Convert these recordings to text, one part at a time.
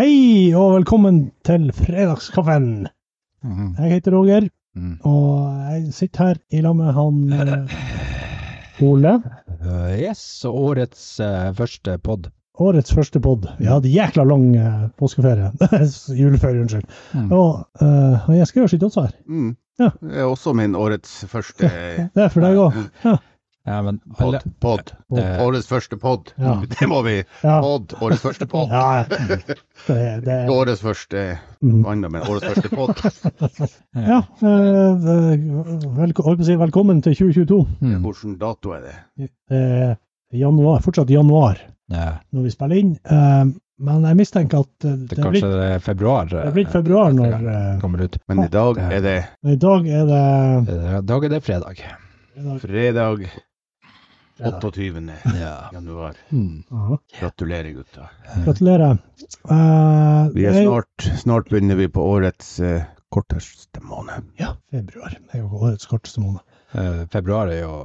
Hei, og velkommen til fredagskaffen. Mhm. Jeg heter Roger, Mm. og jeg sitter her i lag med han eh, Ole. Uh, yes, og årets eh, første pod. Årets første pod. Vi hadde jækla lang eh, påskeferie. Juleferie, unnskyld. Mm. Og eh, jeg skal gjøre sitt også her. Mm. Ja. Det er også min årets første Det er for deg òg. Ja, men pod. alle, pod. Eh, det- Årets første pod. Ja. Det må vi. Ja. Pod. Årets første pod. ja. Det, det, Ikke Årets første mm. annet, men årets første pod. ja eh, velko, holdt på å si velkommen til 2022. Mm. Hvilken dato er det? Det er januar, fortsatt januar Ja, når vi spiller inn, eh, men jeg mistenker at eh, det det er blitt kanskje det er februar. Det er blitt februar når det kommer ut. Men i dag er det eh, I dag er det Mm. I dag er det fredag. i dag- fredag fredag. 28. Ja. januar. Mm. Aha. Gratulerer, gutta. Gratulerer. Eh, Vi er det jo- snart, snart begynner vi på årets eh, korteste måned. Ja, februar. Det er jo årets korteste måned. Eh, februar er jo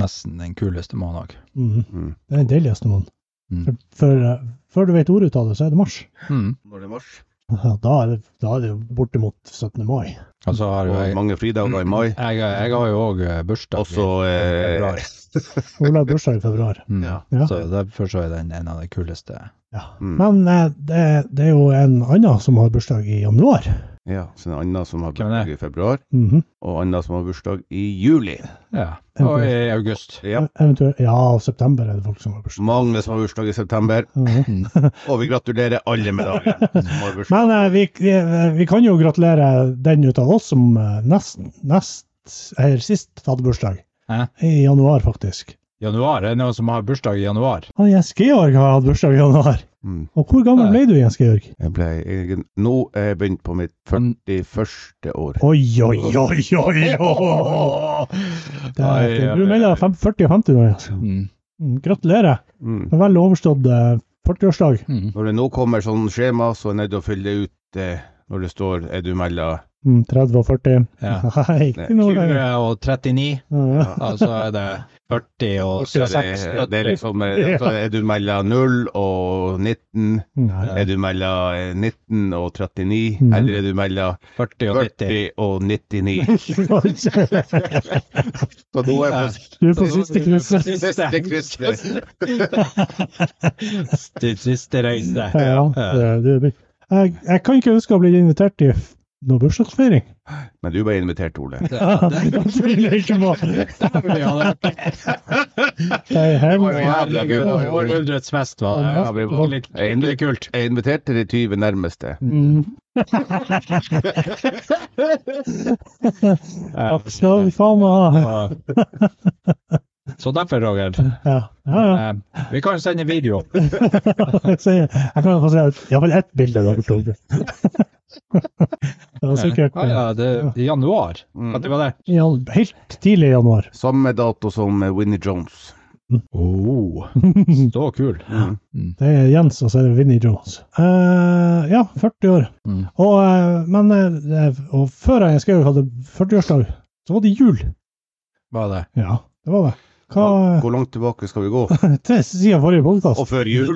nesten den kuleste måneden. Mhm. Mm. Det er den deiligste måneden. Mm. For, for, eh, før du vet ordet av det, så er det mars. Mm. Når det er mars. Ja, Da er det, da er det jo bortimot 17. mai. Og så har jo Og jeg Mm. mange fridager i mai. jeg, jeg har jo òg bursdag. i Også eh, februar. Ola har bursdag i februar. Mm. Ja. Ja. Så derfor så er den en av de kuleste. Ja. Mm. Men eh, det, det er jo en annen som har bursdag i januar. ja, så er det Anna som har Hvem er det? bursdag i februar, Mhm. og Anna som har bursdag i juli. Ja. Og i august. Ja. Eventuelt Ja, september er det folk som har bursdag. Magnus har bursdag i september, Mhm. og vi gratulerer alle med dagen. som har bursdag. Men eh, vi, vi, vi kan jo gratulere den ut av oss som eh, nest, nest eller sist hadde bursdag. Hæ? I januar, faktisk. Januar. Er det noen som har bursdag i januar? Han Jens Georg har hatt bursdag i januar. Mm. Og hvor gammel Nei. ble du, Jens Georg? Jeg ble, jeg, nå er jeg begynt på mitt 41. år. Oi, oi, oi, oi! oi. Det er, fint. du melder deg fem- 40 og 50 nå, Jens. eh, Mm. Mm, Gratulerer Mm. med vel overstått eh, 40-årsdag. Mm. Når det nå kommer sånn skjema, så er jeg nødt til å fylle det ut eh, når det står er du mellom Mm, 30 og 40. Ja. Nei, ikke noe lenger. 20 og 39, Ja. og så er det 40 og det, 76. det er liksom eh, så Er du mellom 0 og 19? Nei. Er du mellom eh, 19 og 39? Mm. Eller er du mellom 40 og 90. 40 og 99? Så nå er jeg på Du er på siste krysset. siste krysset. Siste- Siste reise. Ja, det, det, blir- jeg, jeg kan ikke huske å ha blitt invitert til f- noen bursdagsfeiring. Men du ble invitert, Ole. Ja, det vil jeg ikke må. Dæven, ja, det var- Det er hemmelig. Oi, jævla gud. Å, Århundrets fest, var det. Ja, vi var- Litt- litt kult. Jeg inviterte de 20 nærmeste. Mm. Ja. Ja, Skal vi faen meg ha Så derfor, Roger, Ja, ja. ja. eh, vi kan sende video. Jeg sier- jeg kan få se iallfall ett bilde. Da, på Tore. det var sikkert Ja, ja, det, I januar. At det var det. eh, i all- helt tidlig i januar. Mm. Samme dato som eh, Winnie Jones. Mm. Oh, så kul. Det er Jens, og så er det Vinnie Jones. Eh, ja, 40 år. Mm. Og, eh, men eh, og før jeg skrev hadde 40-årsdag, så var det jul. Var det. Ja, det var det. Hva Hvor langt tilbake skal vi gå? Til siden forrige Og podkast. før jul?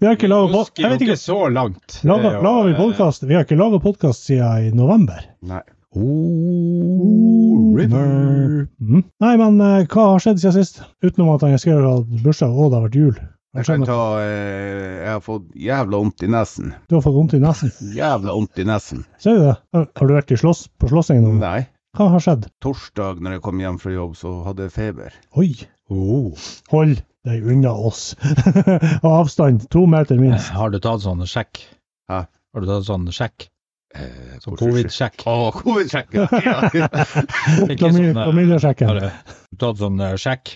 Vi har ikke laget pod- Husker Jeg jo vet ikke ikke. så langt. Laga, laga eh, vi eh, podcast? Vi har ikke laga podkast siden i november. Nei. Oh, river. Mm. Nei, men eh, hva har skjedd siden sist? Utenom at jeg skrev at bursdag og det har vært jul. Jeg Jeg kan skjønner. ta eh, Jeg har fått jævla vondt i nesen. Du har fått vondt i nesen. Jævla vondt i nesen. Ser du det? Har har du vært i slåss, på slåssing nå? Nei. Hva har skjedd? Torsdag når jeg kom hjem fra jobb, så hadde jeg feber. Oi! Oh. Hold deg unna oss. Og avstand to meter minst. Har du tatt sånn sjekk? Hæ? Har du tatt sånn sjekk? Eh, Sånn covid-sjekk? Å, covid-sjekk! Ja. Ikke Klamy- sånn, eh, Har Klamydiasjekken. du tatt sånn eh, sjekk?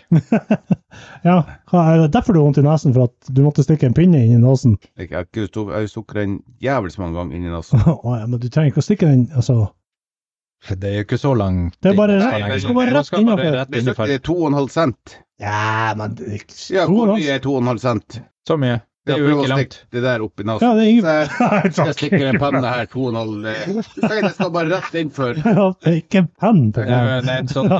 Ja, hva er det derfor du har vondt i nesen? For at du måtte stikke en pinne inn i nesen? Jeg har ikke stukket- jeg har stukket den jævlig mange ganger inni nesen. Å ja, men du trenger ikke å stikke den, altså. Det er jo ikke så langt. Det er bare inn- rett- så det skal være lenge. rett Det skal bare innenfor. rett Det er innenfor. 2,5 cent. Ja, men det- Ja, Tror hvor han. mye er 2,5 cent? Så mye? Det er jo prøv å ikke stikke langt. Det der opp i Ja, nesen. det er ingen... Så Nei, takk. Jeg stikker en penne her, 2,5 eh, Du sier det skal bare rett innfør. Ja, det er Ikke en penn på Ja, gang. men en sånn,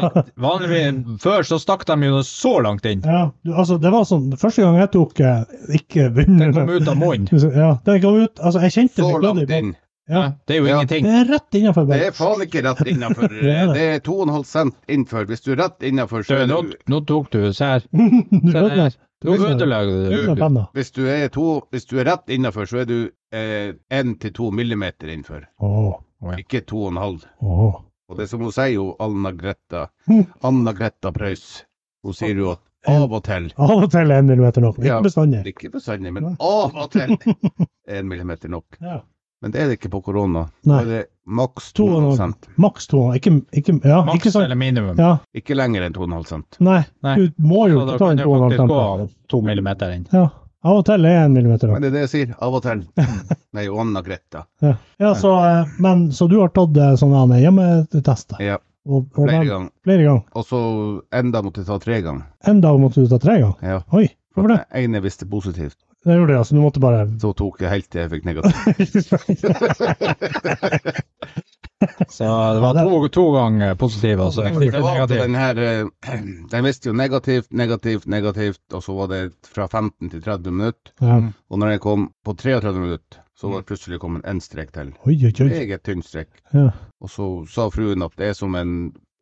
vanligvis, før så stakk de jo så langt inn. Ja, du, altså, det var sånn, første gang jeg tok eh, ikke Den begynner kom ut av munnen. Ja, den kom ut, altså, jeg kjente Så det glødde i langt båten. inn. Ja. Det er jo Ja. ingenting. Det er rett innenfor Det er båten. faen ikke rett innenfor. Det er det. Det er 2,5 cent innenfor. Hvis du er rett innenfor, Du, så er nå, du nå tok du oss her. Du Se ødela der. Nå ødelegger ødela du. penna. Hvis du er, to, hvis du er rett innenfor, så er du én til to millimeter innenfor. Åh, Ikke to og en halv. åh. Og det er som hun sier, jo, Anna Gretta Hm. Anna Gretta Preus. Hun sier jo at av og til Av og til er en millimeter nok, men Ja. ikke bestandig. Ikke bestandig, men av og til er en millimeter nok. Ja. Men det er det ikke på korona. Da Nei, er det maks To og en 2,5 halv. cent. maks to, ikke, ikke, ja, Maks ikke sant? eller minimum. Ja, Ikke lenger enn 2,5 cent. nei, Nei. du må jo Så ta da kan en jeg to og en halv faktisk tempo. To millimeter inn. Ja, av og til er en millimeter nok. Men det er det jeg sier. Av og til. Nei, og Anna Gretta. Ja, ja så, eh, men, så du har tatt eh, sånne hjemmetester? Ja. Og, og Flere dem- ganger. flere ganger. Og så enda måtte jeg ta tre ganger. En dag måtte du ta tre ganger? Ja. Oi, hvorfor det? Den ene visste positivt, Det gjorde det, altså. Du måtte bare så tok jeg helt til jeg fikk negativt. Så det var to, to ganger positive, altså. Det Det var Negativ. den her eh, Den visste jo negativt, negativt, negativt, og så var det fra 15 til 30 minutter. ja. Og når jeg kom på 33 minutter, så var det plutselig kommet én strek til. Oi, oi, oi. Meget tynn strek. Ja. Og så sa fruen at det er som en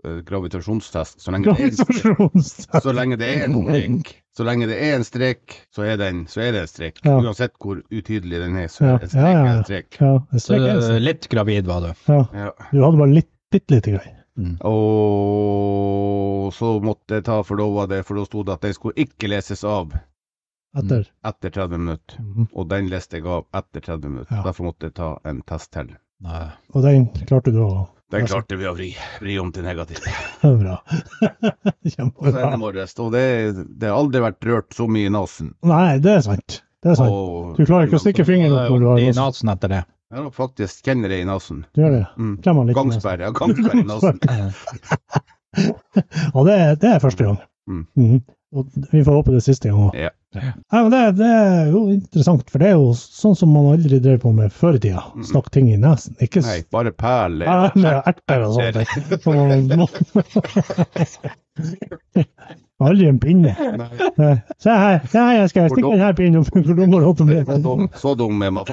eh, gravitasjonstest. Så lenge det er, Gravitasjonstest. så lenge det er en strek, så lenge det er en strek, så er, den, så er det en strek. Ja. Uansett hvor utydelig den er, så Ja. er det en strek. Ja, ja, ja. Ja, er en strek. det Så eh, strekker jeg. litt gravid var du. Ja. Ja. Du hadde bare litt, bitte lite grann. Og så måtte jeg ta forlova det, for da sto det at den skulle ikke leses av Etter. etter 30 minutter. Mhm. Og den leste jeg av etter 30 minutter. Ja. Derfor måtte jeg ta en test til. Nei. Og den klarte du å Den Ja, så- klarte vi å vri, vri om til negativt. Det er Bra. Og så er det Kjempebra. morges. Og det, det har aldri vært rørt så mye i nesen. Nei, det er sant. Det er sant. Og- Du klarer ikke å stikke fingeren opp når du har I gått. nasen etter det. Jeg har faktisk kjenner det i nesen. Du gjør det. Mm. Klemmer litt. i nesen. Gangsperre. Ja, gangsperre i nesen. Ja, det, er- det er første gang. Mm. Mhm. Og vi får håpe det er siste gang òg. Ja. Ja. men det, det er jo interessant, for det er jo sånn som man aldri drev på med før i tida. Mm. Snakke ting i nesen. Ikke s- Nei, bare perler. Ja, med erter og sånt. Aldri en pinne. Nei, Nei. Se her, se her, jeg skal stikke denne pinnen opp for dumme låter det med. var dum. Så dum er man.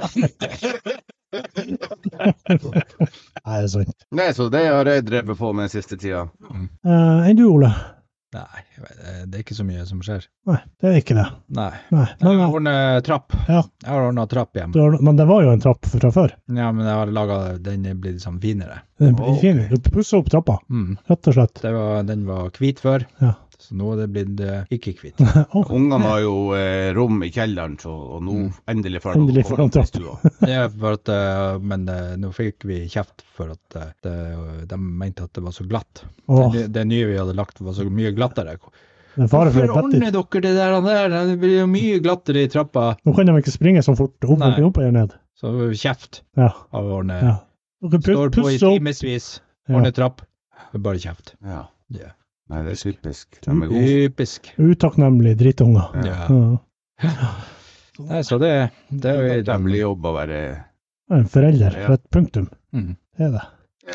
Nei, det er sant. Nei, så det har jeg drevet på med den siste tida. Eh, Enn du, Ole? Nei, jeg vet, eh, det er ikke så mye som skjer. Nei, det er ikke det. Nei. Nei. Jeg Men, har ordnet trapp. Ja. Jeg har ordna trapp hjem. du har- men det var jo en trapp fra før. Ja, men jeg har laga den er blitt liksom finere. Den Wow. blir fin. Du pusser opp trappa, Mm. rett og slett. Det var, den var hvit før, Ja. så nå er det blitt eh, ikke hvit. Å, Ungene har jo eh, rom i kjelleren, så, og nå endelig får Endelig får de komme trapp. til stua. Det er for at, eh, men eh, nå fikk vi kjeft for at eh, det, de mente at det var så glatt. Åh, Det, det nye vi hadde lagt var så mye glattere. det er fare for Hvorfor et petit. ordner dere det der? der? Det blir jo mye glattere i trappa. Nå kan de ikke springe så fort opp, Nei. opp eller ned. Så kjeft Ja. av å ordne. ja. Dere pu- Står på i pusser opp. timevis, Ja. ordner trapp. Det er Bare kjeft. Ja. Ja. Nei, det er typisk. De er gode. Typisk. Utakknemlige drittunger. Ja. Ja. Ja. Nei, så det, det er jo Dævlig jobb å være En forelder for et punktum. Mm. Det er det.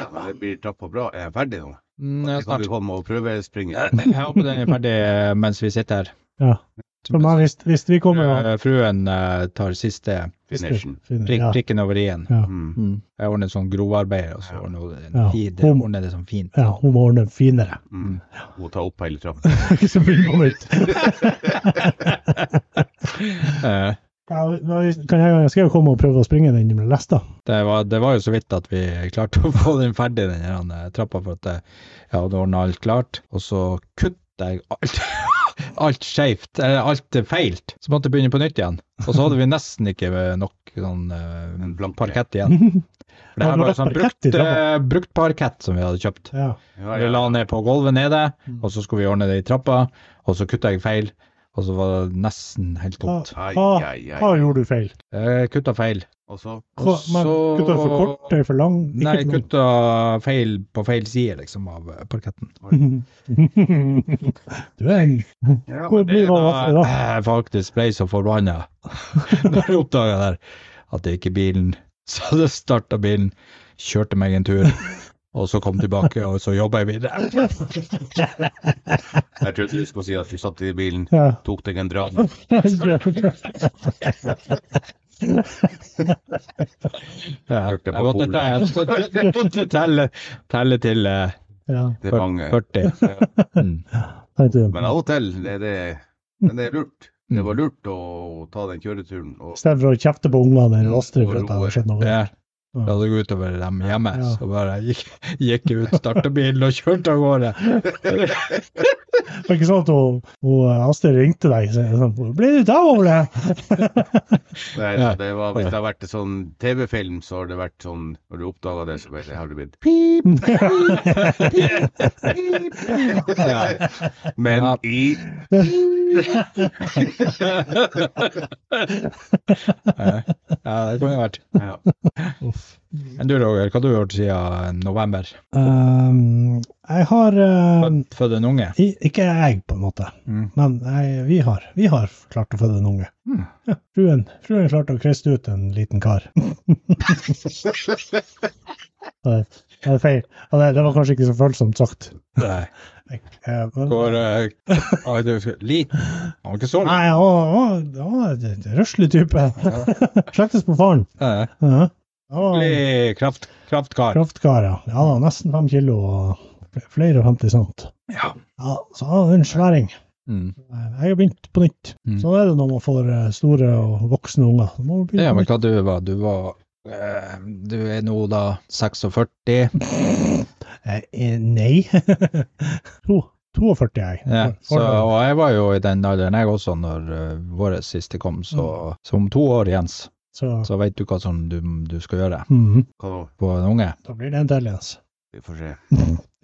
Ja, men det blir trappa bra. Er jeg ferdig nå? Mm, ja, Så kan snart. vi komme og prøve springe. Jeg jeg håper den er ferdig eh, mens vi sitter her. Ja. For meg, hvis, hvis vi kommer og Eh, Fruen eh, tar siste Finishen. prik, Ja. prikken over i-en. Mm. Mm. Jeg ordner sånn grovarbeid, og så ordner hun en Ja. tid. Jeg ordner det sånn fint. ja, hun må ordne finere. Mm. Hun tar opp hele trappa. Ikke så mye på nytt. Eh, Ja, men vi- kan jeg, jeg skal jo komme og prøve å springe den med lesta. Det var, det var jo så vidt at vi klarte å få den ferdig, den her, eh, trappa, for at eh, jeg hadde ordna alt klart. Og så kutta jeg alt, alt skeivt, eller alt feilt. Så måtte jeg begynne på nytt igjen. Og så hadde vi nesten ikke eh, nok sånn eh, En blank parkett igjen. ja. For Ja, det det her var var jo sånn parkett i brukt, trappa. eh, brukt parkett som vi hadde kjøpt. Ja, Vi ja. la ned på gulvet nede, Mm. og så skulle vi ordne det i trappa, og så kutta jeg feil. og så var det nesten helt tomt. Ai, Ah, ai, ai. Hva gjorde du feil? Jeg kutta feil. Og så Hva, Og men, så- kutta for kort eller for lang? Ikke Nei, for lang. kutta feil på feil side, liksom, av eh, parketten. du er en Ah, ja, Hvor men det blir er man da- vaffel, da? Jeg Eh, faktisk ble så forbanna når jeg oppdaga der at det ikke er bilen. Så jeg starta bilen, kjørte meg en tur, og så kom tilbake, og så jobba jeg videre. Jeg trodde du skulle si at du satt i bilen, Ja. tok deg en dram. Jeg, Hørte på jeg måtte Polen. telle, jeg måtte telle, telle til eh, ja, Det er mange. 40. Mm. tenkte jeg. Men av og til er det, men det er lurt. Det Mm. var lurt å ta den kjøreturen. I Og, stedet for å kjefte på ungene eller Astrid for at det hadde skjedd noe. Ja. Da det går utover dem hjemme, Ja. så bare gikk, gikk jeg ut, starta bilen og kjørte av gårde. Det var ikke sånn at hun, hun Astrid ringte deg og sa sånn 'Blir du av over det?' nei, Ja. det var, hvis det har vært en sånn TV-film, så har det vært sånn Når du oppdaga det, så bare, har det blitt Ja. Men Ja. i Eh, ja, det kunne vært. ja. Men du, Roger, hva har du gjort siden november? Ehm, jeg har ehm, Født- Født en unge? i- Ikke jeg, på en måte, Mm. men jeg, vi, har, vi har klart å føde en unge. Mm. Ja, fruen, fruen klarte å kryste ut en liten kar. det, det er feil. Ja, Det, det var kanskje ikke så følsomt sagt. Nei. Jeg, eh, men, Hvor eh, ah, du, Liten? Han var ikke så liten. nei, å, å, å, det er en røslig type. Slektes på faren. Ja. Ja. Ja, Ordentlig kraft, kraftkar. Kraftkar, ja. Ja da, nesten fem kilo og fl- flere og 50 cent. Ja. Ja, så han er en sværing. Mm. Jeg har begynt på nytt. Mm. Sånn er det når man får eh, store og voksne unger. Da må man begynne Ja, på men nytt. hva du var du? var eh, Du er nå da 46. Eh, eh, Nei. to, 42 er jeg. Ja, For- så, for- og jeg var jo i den alderen jeg også når uh, vår siste kom, så, så om to år, Jens, så- så vet du hva som du, du skal gjøre Mhm. Hva nå? på en unge. Da blir det en til, Jens. Vi får se.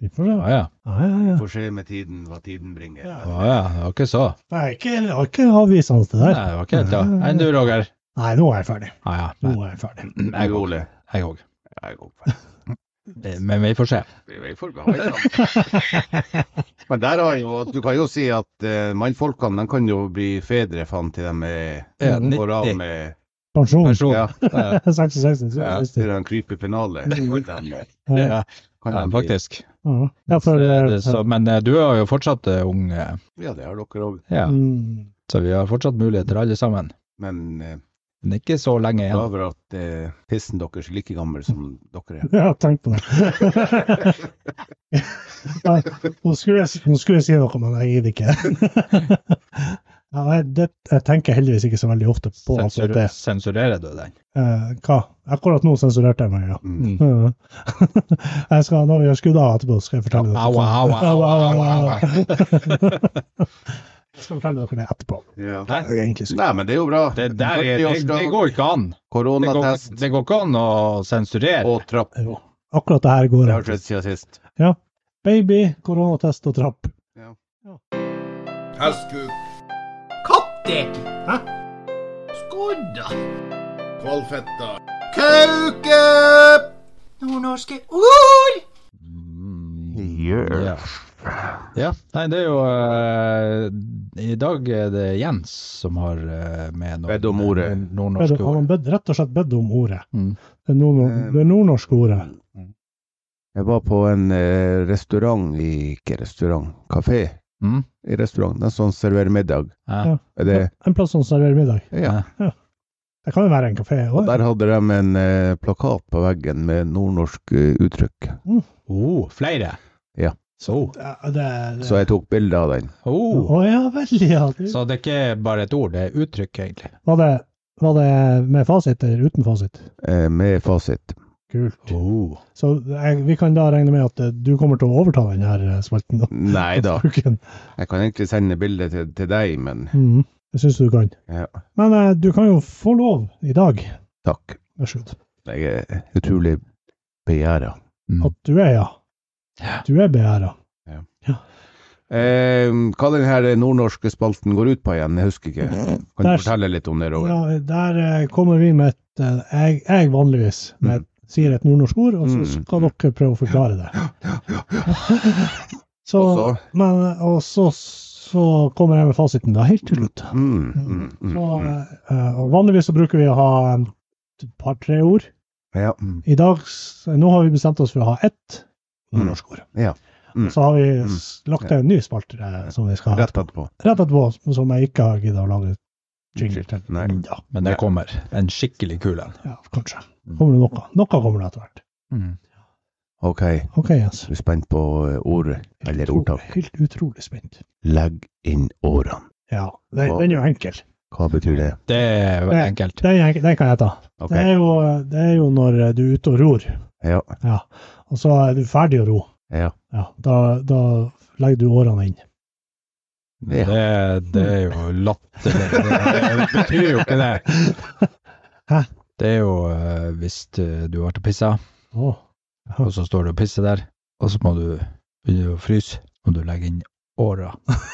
Vi får se. Å ja, Ja, ja, ja. Vi får se med tiden hva tiden bringer. Ja. å ja, det var ikke så. Jeg er ikke, jeg er ikke avvisende til det Nei, der. det var ikke helt da. Enn du, Roger? Nei, nå er jeg ferdig. Ja, ja, Nå nei, er jeg ferdig. Jeg jeg òg. Ole. Jeg òg. Jeg går. Eh, Men vi får se. Vi- vi får ha en sånn. Men der har jo, du kan jo si at eh, mannfolkene de kan jo bli fedre faen til de er- Ja, går av 90 med Pensjon. pensjon. Ja, Ja, 66. ja, Ja, til de kryper i pennalet. Kan de- ja, kan ja, de bli- faktisk. ja. ja, for Det- Så, men eh, du er jo fortsatt eh, ung, eh, Ja, det har dere òg. ja. mm. så vi har fortsatt muligheter alle sammen. Men eh, Men ikke så lenge jeg er igjen. over at eh, tissen deres er like gammel som dere er. Ja, tenk på det. Nei, nå, skulle jeg, nå skulle jeg si noe, men jeg gidder ikke. Ja, jeg, det, jeg tenker heldigvis ikke så veldig ofte på Sensur- akkurat det. Sensurerer du den? Eh, hva? Akkurat nå sensurerte jeg meg, ja. Mm. Ja. Jeg skal, når vi gjør skudd av etterpå, skal jeg Au, fortelle dere au, au, au, au, au. Jeg skal fortelle dere det etterpå. Ja. Nei, Jeg er egentlig syk. Nei, men det er jo bra. Det, der er, det, det går ikke an. Det går, Koronatest det går ikke an å sensurere. og trapp. Jo. Akkurat det her Det går. har skjedd siden sist. Baby, koronatest og trapp. Hestkuk, Katter! Hæ? Skodda! kvalfetta, kauke, Nordnorske ord! Ja. Mm. ja. Nei, det er jo eh, I dag er det Jens som har eh, med noen Bedt om ordet. eh, Bedt- nordnorske Han ord. har bedt- rett og slett bedt om ordet. Mm. Det nordno- det nordnorske ordet. Jeg var på en eh, restaurant i Ikke restaurant, kafé. Mm. I restaurant, den som serverer middag. Ja. Ja. Er det, En plass som serverer middag. ja. Det kan jo være en kafé Og òg. der hadde de en eh, plakat på veggen med nordnorsk eh, uttrykk. Oh, flere? Ja. Så. Så jeg tok bilde av den. Oh. Å ja, veldig. Ja. Du- Så det er ikke bare et ord, det er uttrykk, egentlig. Var, det, var det med fasit eller uten fasit? eh, Med fasit. Kult. Oh. Så jeg, vi kan da regne med at eh, du kommer til å overta den her eh, spalten? da. Nei da. Uken. Jeg kan egentlig sende bildet til, til deg, men Mhm. Det syns du kan. Ja. Men eh, du kan jo få lov i dag, takk. vær så god, Jeg er utrolig begjæra. at du er ja. Ja. Du er begjæra. Eh, hva den her nordnorske spalten går ut på igjen, jeg husker ikke. Kan Der- du fortelle litt om det, Roger? Ja, der eh, kommer vi med et eh, Jeg, jeg vanligvis med, sier et nordnorsk ord, og så Mm. skal dere prøve å forklare det. Så, Og så? men, og så, så kommer jeg med fasiten da, helt til slutt. Mm, mm, mm, Så, mm. eh, og vanligvis så bruker vi å ha eh, et par-tre ord. Ja. mm. I dag, s- nå har vi bestemt oss for å ha ett nordnorsk ord. Ja. Mm. Og Så har vi Mm. s- lagt til en ny spalte eh, som vi skal ha Rett etterpå. rett etterpå, som jeg ikke har giddet å lage jingle til. Nei. Ja. Men det kommer. En skikkelig kul en. Ja, kanskje. Mm. Kommer det noe? Noe kommer det etter hvert. OK, du Ok, Jens. er spent på eh, ordet, eller Utro- ordtak. Helt utrolig spent. Legg inn årene. Ja, den, den er jo enkel. Hva betyr det? Det er veldig enkelt. Den, er enkel- den kan jeg ta. OK. Det, er jo, det er jo når du er ute og ror, Ja. ja. og så er du ferdig å ro. Ja. Ja, da, da legger du årene inn. ja. Det, det er jo latterlig. Det, det betyr jo ikke det. Hæ? Det er jo eh, hvis eh, du har vært og pissa, Å, og så står du og pisser der, og så må du begynne å fryse, og du legger inn åra.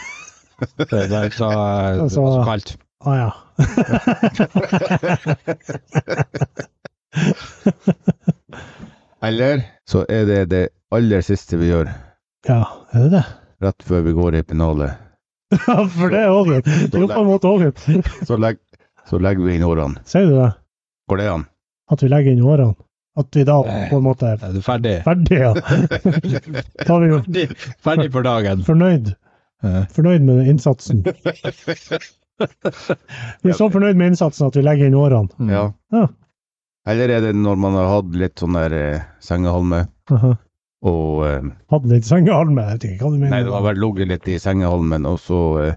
Det, det er så, det er så kaldt. ah, ja. Eller så er det det aller siste vi gjør, ja, er det det? rett før vi går i pennalet. Ja, for det er òg en. Det er jo på en måte òg en. Så, legg, så legger vi inn årene. Sier du det? Går det an? At vi legger inn årene? At vi da på en måte er Er du ferdig? ferdige? Ja. Da er vi jo Ferdig, ferdig for dagen. fornøyd. Eh, fornøyd med den innsatsen. Vi er så fornøyd med innsatsen at vi legger inn årene. Ja. Ja. Eller er det når man har hatt litt sånn der eh, sengehalme, Aha. og eh, Hadde litt sengehalme, jeg vet ikke hva du mener. Nei, det har vel ligget litt i sengehalmen, og så eh,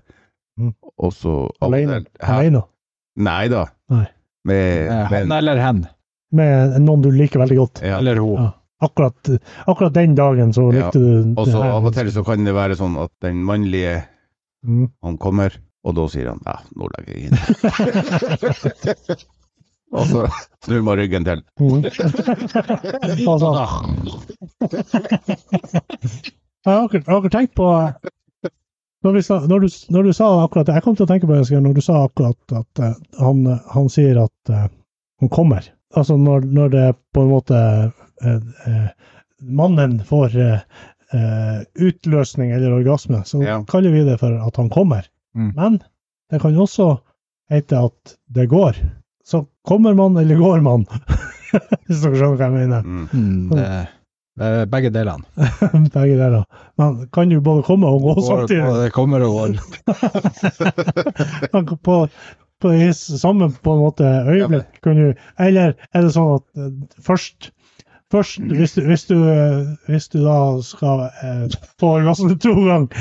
Mm. Og så Alene. Hæ? Alene. Nei da. Nei. Med, Eh, Han med eller hen. Med noen du liker veldig godt. ja. Eller hun. Ja. Akkurat, akkurat den dagen så Ja. likte du Og det så her. av og til så kan det være sånn at den mannlige Mm. Han kommer, og da sier han ja, nå legger jeg inn. og så snur man ryggen til. Mm. altså, jeg har akkurat, jeg har akkurat tenkt på eh, når, vi sa, når, du, når du sa akkurat det, jeg kom til å tenke på det Asgeir, når du sa akkurat at eh, han, han sier at eh, han kommer. Altså når, når det på en måte eh, eh, mannen får eh, eh, utløsning eller orgasme, så Ja. kaller vi det for at han kommer. Mm. Men det kan også hete at det går. Så kommer man eller går man? Hvis dere skjønner hva jeg mener. Mm. Mm, det, det er begge delene. Begge deler. Men kan du både komme og gå Går- samtidig? går- det kommer og går. Man kan på, på det samme på en måte øyeblikk kan du Eller er det sånn at eh, først Først, hvis du, hvis du, eh, hvis du da skal eh, få orgasme to ganger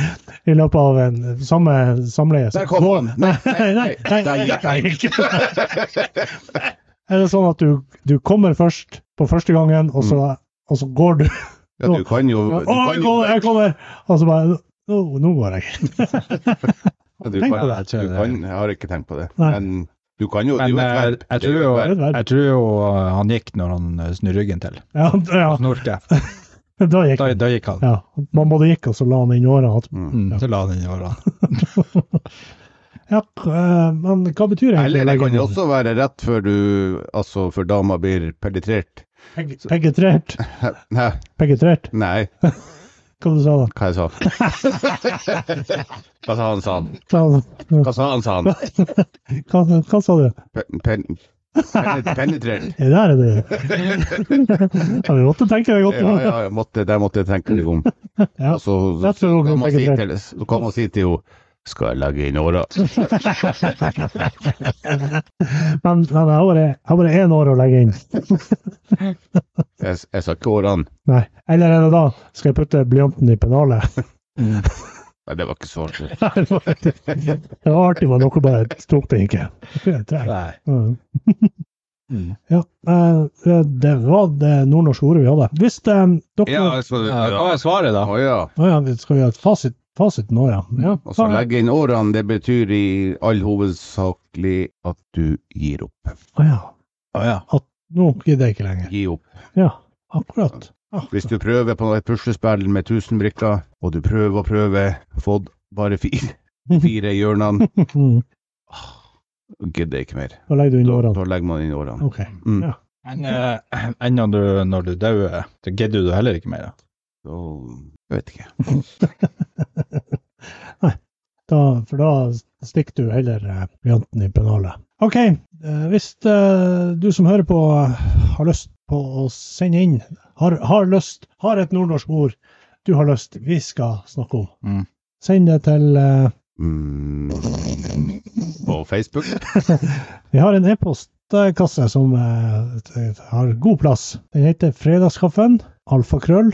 i løpet av en samme samleie så Der kom går- han! Nei, nei, nei, nei, Der gikk nei, ikke. Er det sånn at du, du kommer først på første gangen, og så, og så går du Ja, du kan jo Å, Mm. du kan jeg jo, kommer, jeg kommer! Og så bare Nå, nå går jeg. du Tenk kan, på det, jeg tror du det. kan, jeg har ikke tenkt på det. Nei. Men du kan jo Men det eh, er jo et verb. jeg Det er tror jo, jo et verb. Det er et verb. jeg tror jo eh, han gikk når han eh, snur ryggen til. Ja, ja, Snorke. da gikk Da, da gikk han. Ja, man både gikk og så la han inn åra. at- Mm. Mm, så la han inn årene. Ja, k- eh, men hva betyr egentlig Eller det kan jo legge også være rett før du Altså før dama blir penetrert. Peg- Penetrert? Nei, Penetrert? nei, Hva du sa du? hva jeg sa Hva sa han, sa han? Hva, Hva sa han, sa han? hva, hva sa du? Pen, pen, pen- penetrert. Det der er det. Ja, vi måtte tenke det godt. Ja, ja, jeg måtte, der måtte jeg tenke litt om. Ja. Og så, så, Jeg tror kan hun man si penetrert. til, så kan man si til henne Skal jeg legge inn åra? Men, men jeg har bare- jeg har bare én år å legge inn. Jeg, jeg sa ikke årene. Nei. Eller er det da skal jeg putte blyanten i pennalet? Mm. Nei, det var ikke svart. Det var det var artig, men dere bare tok det ikke. Treg. Nei. Mm. Mm. Ja, eh, det var det nordnorske ordet vi hadde. Hvis eh, dere Ja, altså, Ja, ja. Eh, hva er svaret, da? Å, ja. Å ja, vi skal vi ha et fasit, fasit nå, ja. ja Og så da- legge inn årene, det betyr i all hovedsakelig at du gir opp. Å ja. Å ja. Nå gidder jeg ikke lenger. Gi opp. Ja, akkurat. Ah, Hvis du prøver på et puslespill med 1000 brikker, og du prøver og prøver, fått bare fire, fire i hjørnene, Mm. gidder ikke mer. Da legger du inn Da, årene. da legger man inn årene. OK. Mm. Ja. Men eh, ennå du, når du dør, så gidder du heller ikke mer. da. Da jeg vet ikke. Da, for da stikker du heller eh, blyanten i pennalet. OK, eh, hvis eh, du som hører på eh, har lyst på å sende inn, har, har lyst, har et nordnorsk ord du har lyst vi skal snakke om, Mm. send det til eh, Mm. På Facebook? Vi har en e-postkasse som eh, t- t- har god plass. Den heter fredagskaffen alfakrøll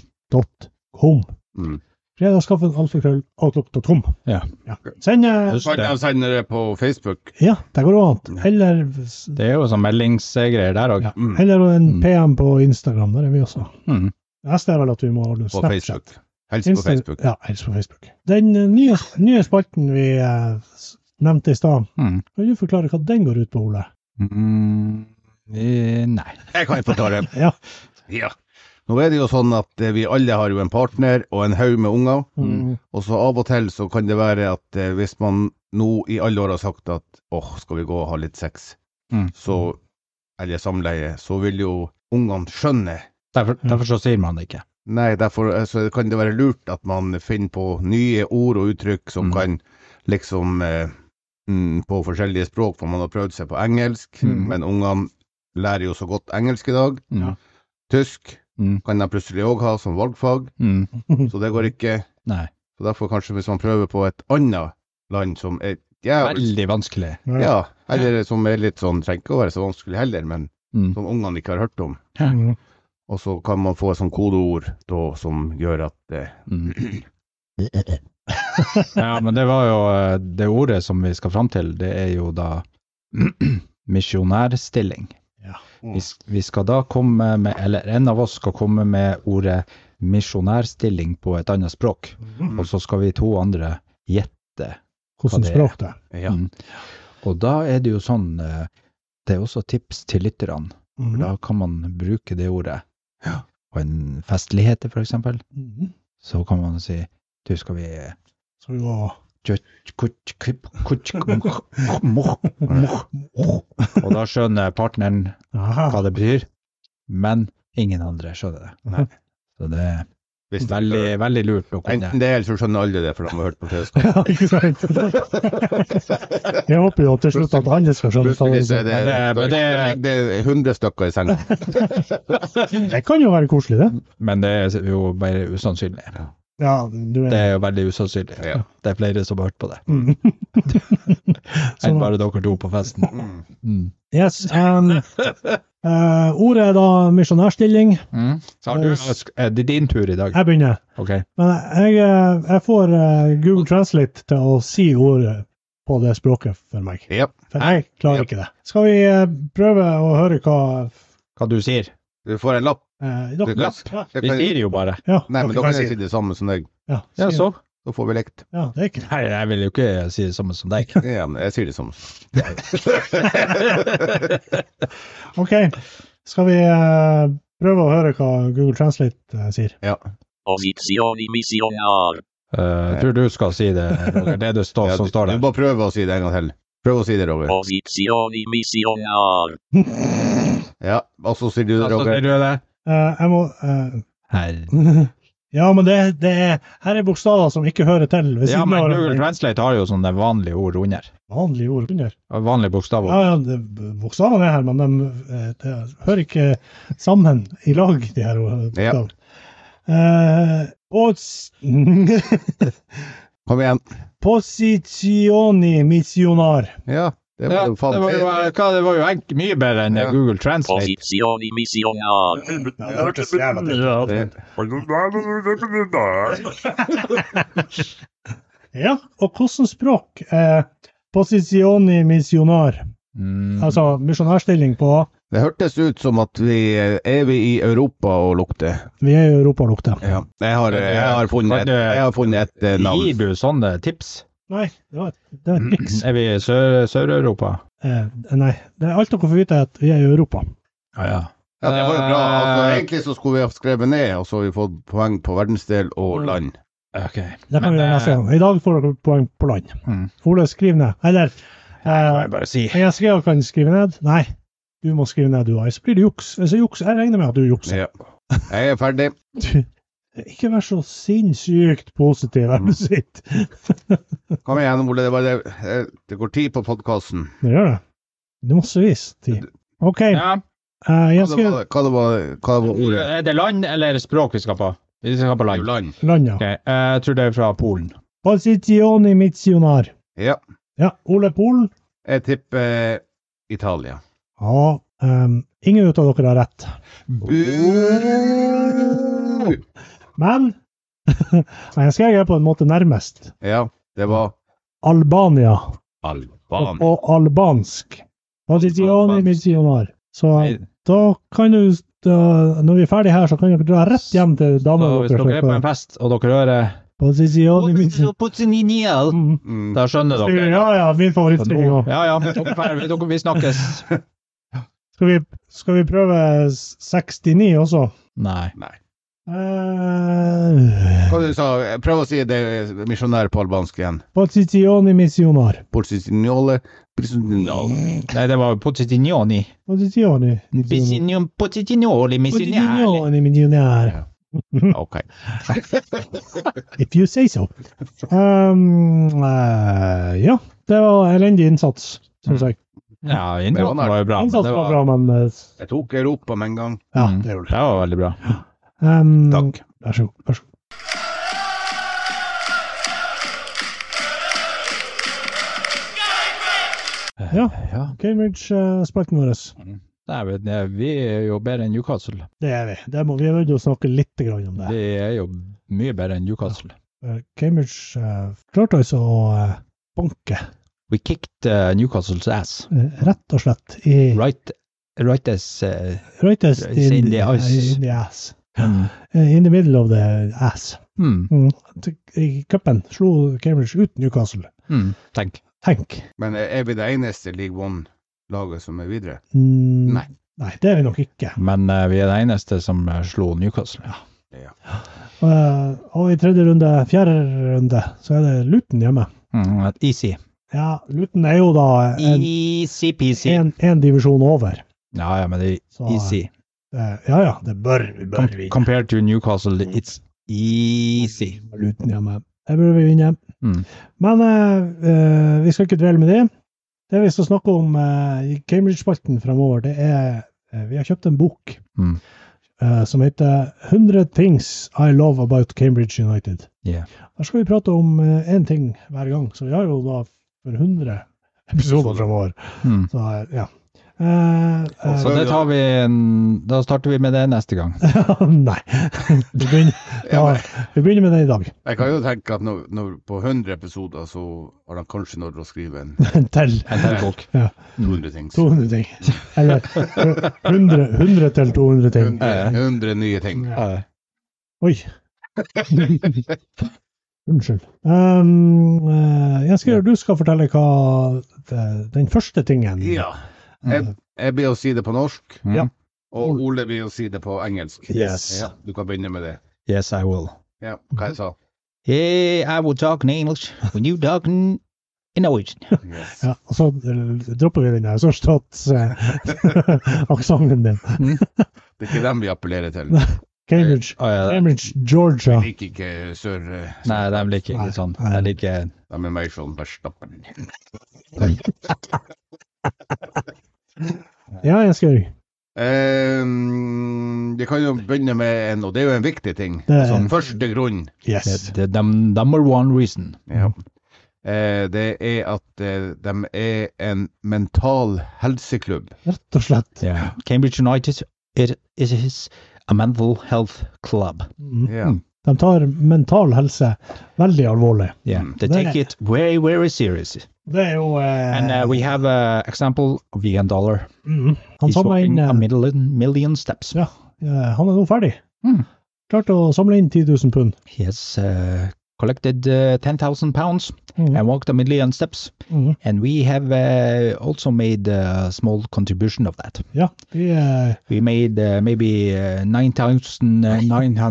outlook.com. Mm. Fredagskaffen alfakrøll outlook.com. Ja. Send eh, Husk Kan det. jeg sende det på Facebook? Ja, det går også an. Eller Det er jo sånn meldingsgreier der òg. Ja. Mm. Eller en Mm. PM på Instagram, der er vi også. Mm. Neste er vel at vi må ordne På Snapchat. Facebook. Helst på Insta- Facebook. Ja, helst på Facebook. Den eh, nye, nye spalten vi eh, s- nevnte i stad, Mm. kan du forklare hva den går ut på, Ole? Mm. eh, Nei. Jeg kan forklare. Ja. ja. Nå er det jo sånn at eh, vi alle har jo en partner og en haug med unger. Mm. Og så av og til så kan det være at eh, hvis man nå i alle år har sagt at åh, skal vi gå og ha litt sex, Mm. så, eller samleie, så vil jo ungene skjønne. Derfor, derfor så sier man det ikke. Nei, derfor eh, så kan det være lurt at man finner på nye ord og uttrykk som Mm. kan liksom eh, mm, På forskjellige språk, for man har prøvd seg på engelsk, Mm. men ungene lærer jo så godt engelsk i dag. Mm. Tysk Mm. kan de plutselig òg ha som valgfag, Mm. så det går ikke. Nei. Så derfor kanskje hvis man prøver på et annet land som er jævlig Veldig vanskelig. Ja, eller som er litt sånn, trenger ikke å være så vanskelig heller, men Mm. som ungene ikke har hørt om. Mm. Og så kan man få et sånt kodeord da som gjør at eh, Mm. Ja, men det var jo eh, Det ordet som vi skal fram til, det er jo da misjonærstilling. Ja. Vi, s- vi skal da komme med, eller en av oss skal komme med ordet misjonærstilling på et annet språk, Mm. og så skal vi to andre gjette. Hvordan det er. språk det er. ja. Mm. Og da er det jo sånn eh, Det er også tips til lytterne. Mm. Da kan man bruke det ordet. På en festlighet, for eksempel, Mm. så kan man si Du, skal vi Så vi går Kutsk, kup, kutsk, mokh, mokh, mokh, mokh. Og da skjønner partneren hva Aha. det betyr, men ingen andre skjønner det. Nei. Så det Hvis er det- veldig, veldig lurt å kunne Enten det, eller så skjønner alle det, for de har hørt på TSK. Ja, ikke sant? Jeg håper jo til slutt at alle skal skjønne Plutselig så er det, Men det- men det- det er 100 stykker i senga. Det kan jo være koselig, det. Men det er jo bare usannsynlig. Ja, du Det er er jo veldig usannsynlig. Ja. Det er flere som har hørt på det, Mm. enn Sånn. bare dere to på festen. Mm. Mm. Yes. em, eh, ordet er da misjonærstilling. Så har du, er det din tur i dag? Jeg begynner. Ok. Men jeg, eh, jeg får eh, Google Translate til å si ordet på det språket for meg. Ja. For jeg klarer Ja. ikke det. Skal vi eh, prøve å høre hva Hva du sier? Du får en lapp. eh, Du dere, kan- ja, Jeg Vi kan- sier jo bare. ja, Nei, dere men da kan kan si jeg si det. det samme som deg. Ja, si Ja, det. så. Da får vi lekt. Ja, det er ikke Nei, jeg vil jo ikke si det samme som deg. Ja, men jeg sier det samme. OK. Skal vi eh, prøve å høre hva Google Translate eh, sier? Posizioni missionar. Eh, jeg tror du skal si det, Roger. Det du står, Ja, som du, står du der. bare prøver å si det en gang til. Prøv å si det, Roger. Posizioni missionar. Ja, og så sier du det, Altså, sier Roger. du det? Eh, jeg må eh, Her. Ja, men det, det er, her er bokstaver som ikke hører til ved Ja, siden men av hverandre. Google Translate har jo sånne vanlige ord under. Vanlige ord under. Vanlige bokstaver. Ja, ja, det- bokstavene er her, men de, eh, det hører ikke sammen i lag, de her ordene. Ja. Eh, pos, Kom igjen. positioni missionar. Ja, det Ja, var jo det, faen var jo, hva, det var jo enk- mye bedre enn Ja. Google Translate. Posizioni missionar. Ja, det hørtes jævla til. Det- Ja, og hvordan språk er positioni missionar? Mm. Altså misjonærstilling på Det hørtes ut som at vi eh, er vi i Europa og lukter. Vi er i Europa, lukter. Ja. Jeg har, jeg har funnet et, jeg har funnet et eh, Gir navn. du sånne tips? Nei, det var, det var et triks. Er vi i Sør- Sør-Europa? Eh, nei, det er alt dere får vite, er at vi er i Europa. ja, Eh, ja. Ja, det var jo bra. Altså, egentlig så skulle vi ha skrevet ned, og så har vi fått poeng på verdensdel og land. Ok. Det kan vi eh, gjøre neste gang. I dag får dere poeng på land. Mm. Ole, skriv ned. Eller Må eh, jeg bare si. jeg skrev, kan skrive ned. Nei, du må skrive ned, du òg. Så blir det juks. Hvis jeg jukser, jeg regner med at du jukser. Ja. Jeg er ferdig. Ikke vær så sinnssykt positiv, Mm. er du sitt. Kom igjen, Ole. Det, var det, eh, det går tid på podkasten. Det gjør det. Det er massevis tid. OK, Ja. eh, Hva, jeg det skrev var- hva, det var- hva det var ordet? Er det land eller språk vi skal på? Vi skal på Det er land. jo Land. landa. Ok, eh, Jeg tror det er fra Polen. Posizioni missionar. Ja. Ja, Ole Polen. Jeg tipper eh, Italia. Ja, ehm, ingen ut av dere har rett. Bu! Men Nei, jeg skrev det på en måte nærmest. Ja, det var Albania og, Alban. og albansk. Posizioni Albansk. missionar. Så Nei, da kan du da, Når vi er ferdig her, så kan dere dra rett hjem til Så damene hvis dere er på en deres. fest, og dere hører Posizioni missionar. Mm. Mm. Da skjønner dere. Ja, ja, min favorittstilling òg. Ja, ja. Dere, fer- dere, vi snakkes. Skal, vi- skal vi prøve s- 69 også? Nei. Eh, Hva du sa du? Prøv å si det misjonær på albansk igjen. Posizioni missionar. Porcisignole Mm. Prisonale. Nei, det var Pozzettinioni. Posizioni missionar. Pozzettinioli missionari. Posizioni missionar. OK. If you say so. Um, eh, ja, det var elendig innsats, Mm. syns jeg. Ja, innsatsen var jo bra. men Innsatsen det var bra, men eh, Jeg tok Europa med en gang. ja, Mm. det gjorde det. Det var veldig bra. Um, Takk. Vær så god. Vær så god. Ja, Eh, Ja. Cambridge-spalten eh, vår. Nei, men det- vi er jo bedre enn Newcastle. Det er vi. Det må, vi er nødt til å snakke litt grann om det. Vi eh, er jo mye bedre enn Newcastle. Eh, Cambridge eh, klarte altså å eh, banke, We kicked uh, Newcastle's ass. eh, rett og slett, i Right, right as uh, Reuters It's in the ice. in the ass. mm. Eh, In the middle of the ass. Mm. Mm. T- I cupen slo Cambridge ut Newcastle. Mm. Tenk. Tenk. Men er vi det eneste League One-laget som er videre? Mm. Nei. Nei, det er vi nok ikke. Men eh, vi er det eneste som eh, slo Newcastle. Eh, og i tredje runde, fjerde runde, så er det Luton hjemme. Mm. Easy. Ja, Luton er jo da en, Easy-peasy. en, en divisjon over. Ja, ja, men det er Så, easy. eh, ja ja, det bør vi bør Com- vinne. compared to Newcastle, it's easy. Luton hjemme. Det bør vi vinne. Mm. Men eh, eh, vi skal ikke dvele med det. Det vi skal snakke om eh, i Cambridge-spalten fremover, det er eh, Vi har kjøpt en bok Mm. eh, som heter '100 things I love about Cambridge United'. Yeah. Der skal vi prate om eh, én ting hver gang, så vi har jo da for 100 episoder fremover. Mm. Så eh, ja. Eh, eh, Så det tar vi en, Da starter vi med det neste gang. nei. Vi begynner, ja, vi begynner med det i dag. Jeg kan jo tenke at når, når på 100 episoder så har han kanskje nådd å skrive en Til En til bok. 200 ting. 200 ting. Eller eh, 100, 100 til 200 ting. 100, 100 nye ting. Ja. Oi. Unnskyld. Ehm, eh, jeg skal, Du skal fortelle hva det- den første tingen Ja. Eh, Jeg, jeg blir å si det på norsk, Mm. Ja. og Ole blir å si det på engelsk. Yes. Ja, du kan begynne med det. Yes, I will. Ja, hva jeg sa. Hey, I will talk in English when you talk in in Norwegian. Yes. ja, Og så eh, dropper vi den der sørstatsaksenten eh, din. Det er ikke dem vi appellerer til. Nei. Cambridge, Å, ja, det- Cambridge Georgia. Jeg liker ikke sør... eh, Nei, de liker ikke sånn. De liker De er mer sånn Verstappen. Ja, jeg skal gjøre Um, vi kan jo begynne med en, og det er jo en viktig ting, Det er som en- første grunn. Yes. the, the num- er number one reason. Ja. Eh, det er at eh, de er en mental helseklubb. Rett og slett. Yeah. Cambridge United it, it is a mental health club. Mm. Ja. De tar mental helse veldig alvorlig. Yeah, Mm. they There. take it very, very serious. Det er jo eh, And uh, we have an example of Ian Dollar. mm, Han He's samla inn walking a eh, million, million steps. Ja, eh, han er nå ferdig. Mm. Klarte å samle inn 10 000 pund. He has uh, collected uh, 10,000 pounds Mhm. and walked a million steps. Mhm. And we have uh, also made a small contribution of that. Ja, vi eh, We made uh, maybe uh,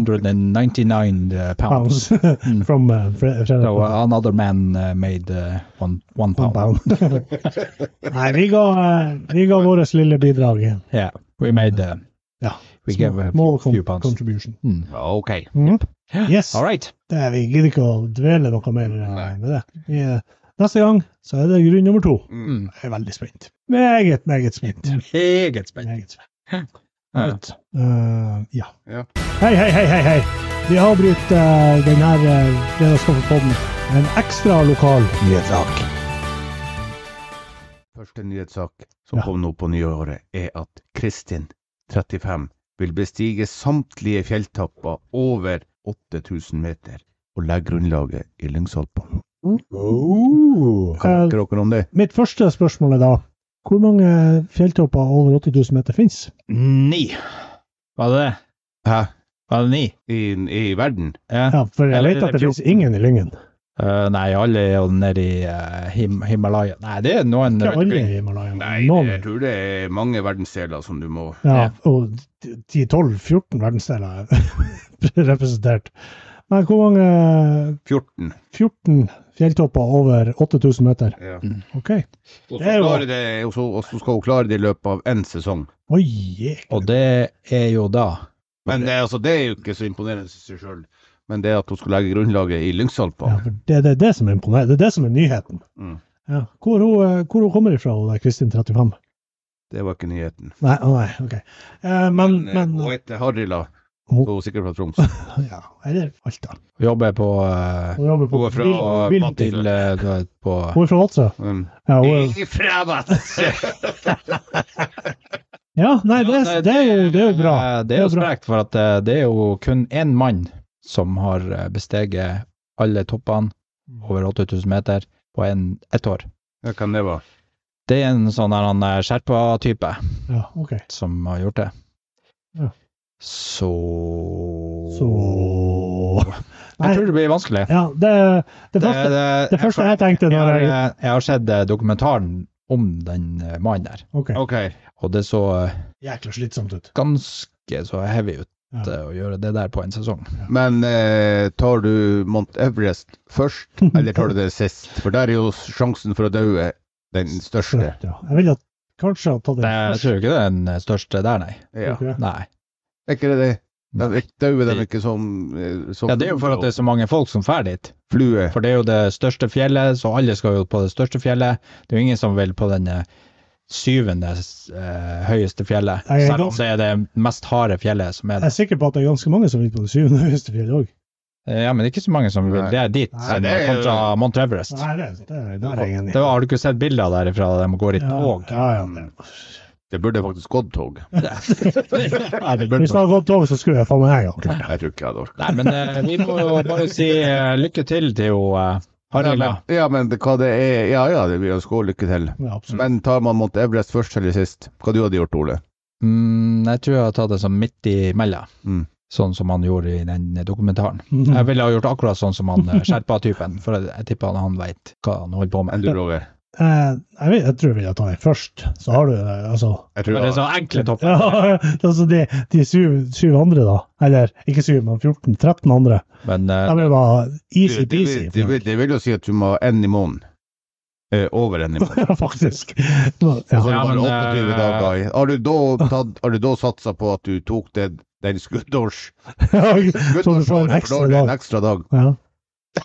9,999 uh, pounds. pounds Mm. from uh, Fre- Fredrik. So uh, another man uh, made uh, one, One one pound. pound. Nei, vi ga, eh, vi ga vårt lille bidrag. Yeah, we made, uh, Ja. we Small- gave uh, a small con- few pounds. Contribution. Mm. OK. Yes. All right. Det, vi gidder ikke å dvele noe mer eh, med det. Vi, eh, neste gang så er det grunn nummer to. Mm. Jeg er veldig spent. Meget, meget spent. Hmm. Meget spennende. Meget spent. Ja. Eh, ja. Ja. Hei, hei, hei, hei, hei. Vi avbryter denne uh, fredagskaffepodden med en ekstra lokal nyhetssak. Første nyhetssak som Ja. kom nå på nyåret, er at Kristin, 35, vil bestige samtlige fjelltapper over 8000 meter og legge grunnlaget i Lyngsalpene. Hva tenker dere om det? Eh, Mitt første spørsmål er da, hvor mange fjelltopper over 80 000 meter finnes? Ni. Var det det? Hæ? Var det ni? I, i verden? Ja. Ja, for jeg Eller vet at det er det finnes ingen i Lyngen. Eh, nei, alle er jo nede i eh, Him Himalaya. Nei, det er noen Ikke rundt alle omkring. i Himalaya. men Nei, noen. jeg tror det er mange verdensdeler som du må Ja, og 10-12-14 verdensdeler er representert. Men hvor mange 14. 14 fjelltopper over 8000 meter? Ja. Ok. Og så Det er jo- klarer det- og så- og så skal hun klare det i løpet av én sesong. Oi, jek. Og det er jo da Men det, altså, det er jo ikke så imponerende i seg sjøl. Men det at hun skal legge grunnlaget i Ja, Lyngsalpene for det, det er det som er imponerende. Det er det som er nyheten. Mm. Ja. Hvor, hun, eh, hvor hun kommer ifra, hun der Kristin 35? Det var ikke nyheten. Nei, å nei, ok. Eh, men, men Hun heter Harila, Hun- så hun er sikkert fra Troms. ja, eller Alta. jobber på eh, Hun jobber på Hun er fra Vil- Vil- Vadsø. til eh, du vet, på Hun er fra Vadsø? Um, Ja, hun er, Ifra Vadsø! ja, nei, det, er- det er jo, det er jo bra. Eh, Det er jo Det er bra. sprekt, for at eh, det er jo kun én mann som har eh, besteget alle toppene over 8000 meter på en, ett år. Ja, Hvem det var? Det er en sånn her, han, eh, sherpa-type Ja, ok. som har gjort det. Ja. Så Så Nei, Jeg tror det blir vanskelig. Eh, ja, det, det første det første jeg tenkte når har, jeg- eh, jeg har sett eh, dokumentaren om den eh, mannen der, Ok. OK. og det så eh, Jækla slitsomt ut. ganske så heavy ut Ja. eh, å gjøre det der på en sesong. Men eh, tar du Mount Everest først, eller tar du det sist? For der er jo sjansen for å daue den største. Ja, jeg ville at- kanskje ha tatt Det, det jeg tror ikke det er den eh, største der, nei. Ja. Ok. nei. Er ikke det det? nei. De dauer de ikke som, eh, som Ja, det er jo for at det er så mange folk som drar dit. flue. For det er jo det største fjellet, så alle skal jo på det største fjellet. Det er jo ingen som vil på den eh, syvende eh, høyeste fjellet, Jeg er selv om ganske- det er det mest harde fjellet som er Jeg der. er sikker på at det er ganske mange som vil på det syvende høyeste fjellet òg. Eh, Ja, men det er ikke så mange som vil Nei. det er dit, Nei, som det er jo- kontra Mount Everest. Nei, det, det, det er jeg enig i. Det var, har du ikke sett bilder derifra der de går i Ja, tog? ja, ja, det- Det burde faktisk gått tog. Nei, det burde Hvis det hadde gått over, så skulle jeg faen meg jeg ha klart det. Jeg tror ikke jeg hadde orket. Nei, men eh, vi må jo bare si eh, lykke til til jo eh, Harila. Ja, men- Ja, men det, hva det er Ja ja, det vil jeg skål lykke til. Ja, absolutt. Men tar man Mount Everest først eller sist? Hva du hadde gjort, Ole? Mm, jeg tror jeg har tatt det som midt imellom, Mm. sånn som han gjorde i den eh, dokumentaren. Mm. Jeg ville ha gjort akkurat sånn som han eh, skjerpa-typen, for jeg, jeg tipper han, han veit hva han holder på Enn med. du, Roger? Eh, jeg, vil, jeg tror jeg ville ta den først. Så har du det, altså Jeg Det tror er så enkle topp. ja, altså De, de syv, syv andre, da. Eller ikke syv, men 14. 13 andre. Men eh, Jeg vil bare Det, det, easy-peasy. vil- det, vil- det vil jo si at du må ha én i måneden. Eh, over én i måneden. Ja, faktisk. Nå, Og Ja. så Ja, har du men, bare 28 eh, dager. i. Har du da, tatt, har du da satsa på at du tok det, den skuddårs... Så du får en skuddårsåret, for ekstra da er det en dag. ekstra dag. Ja.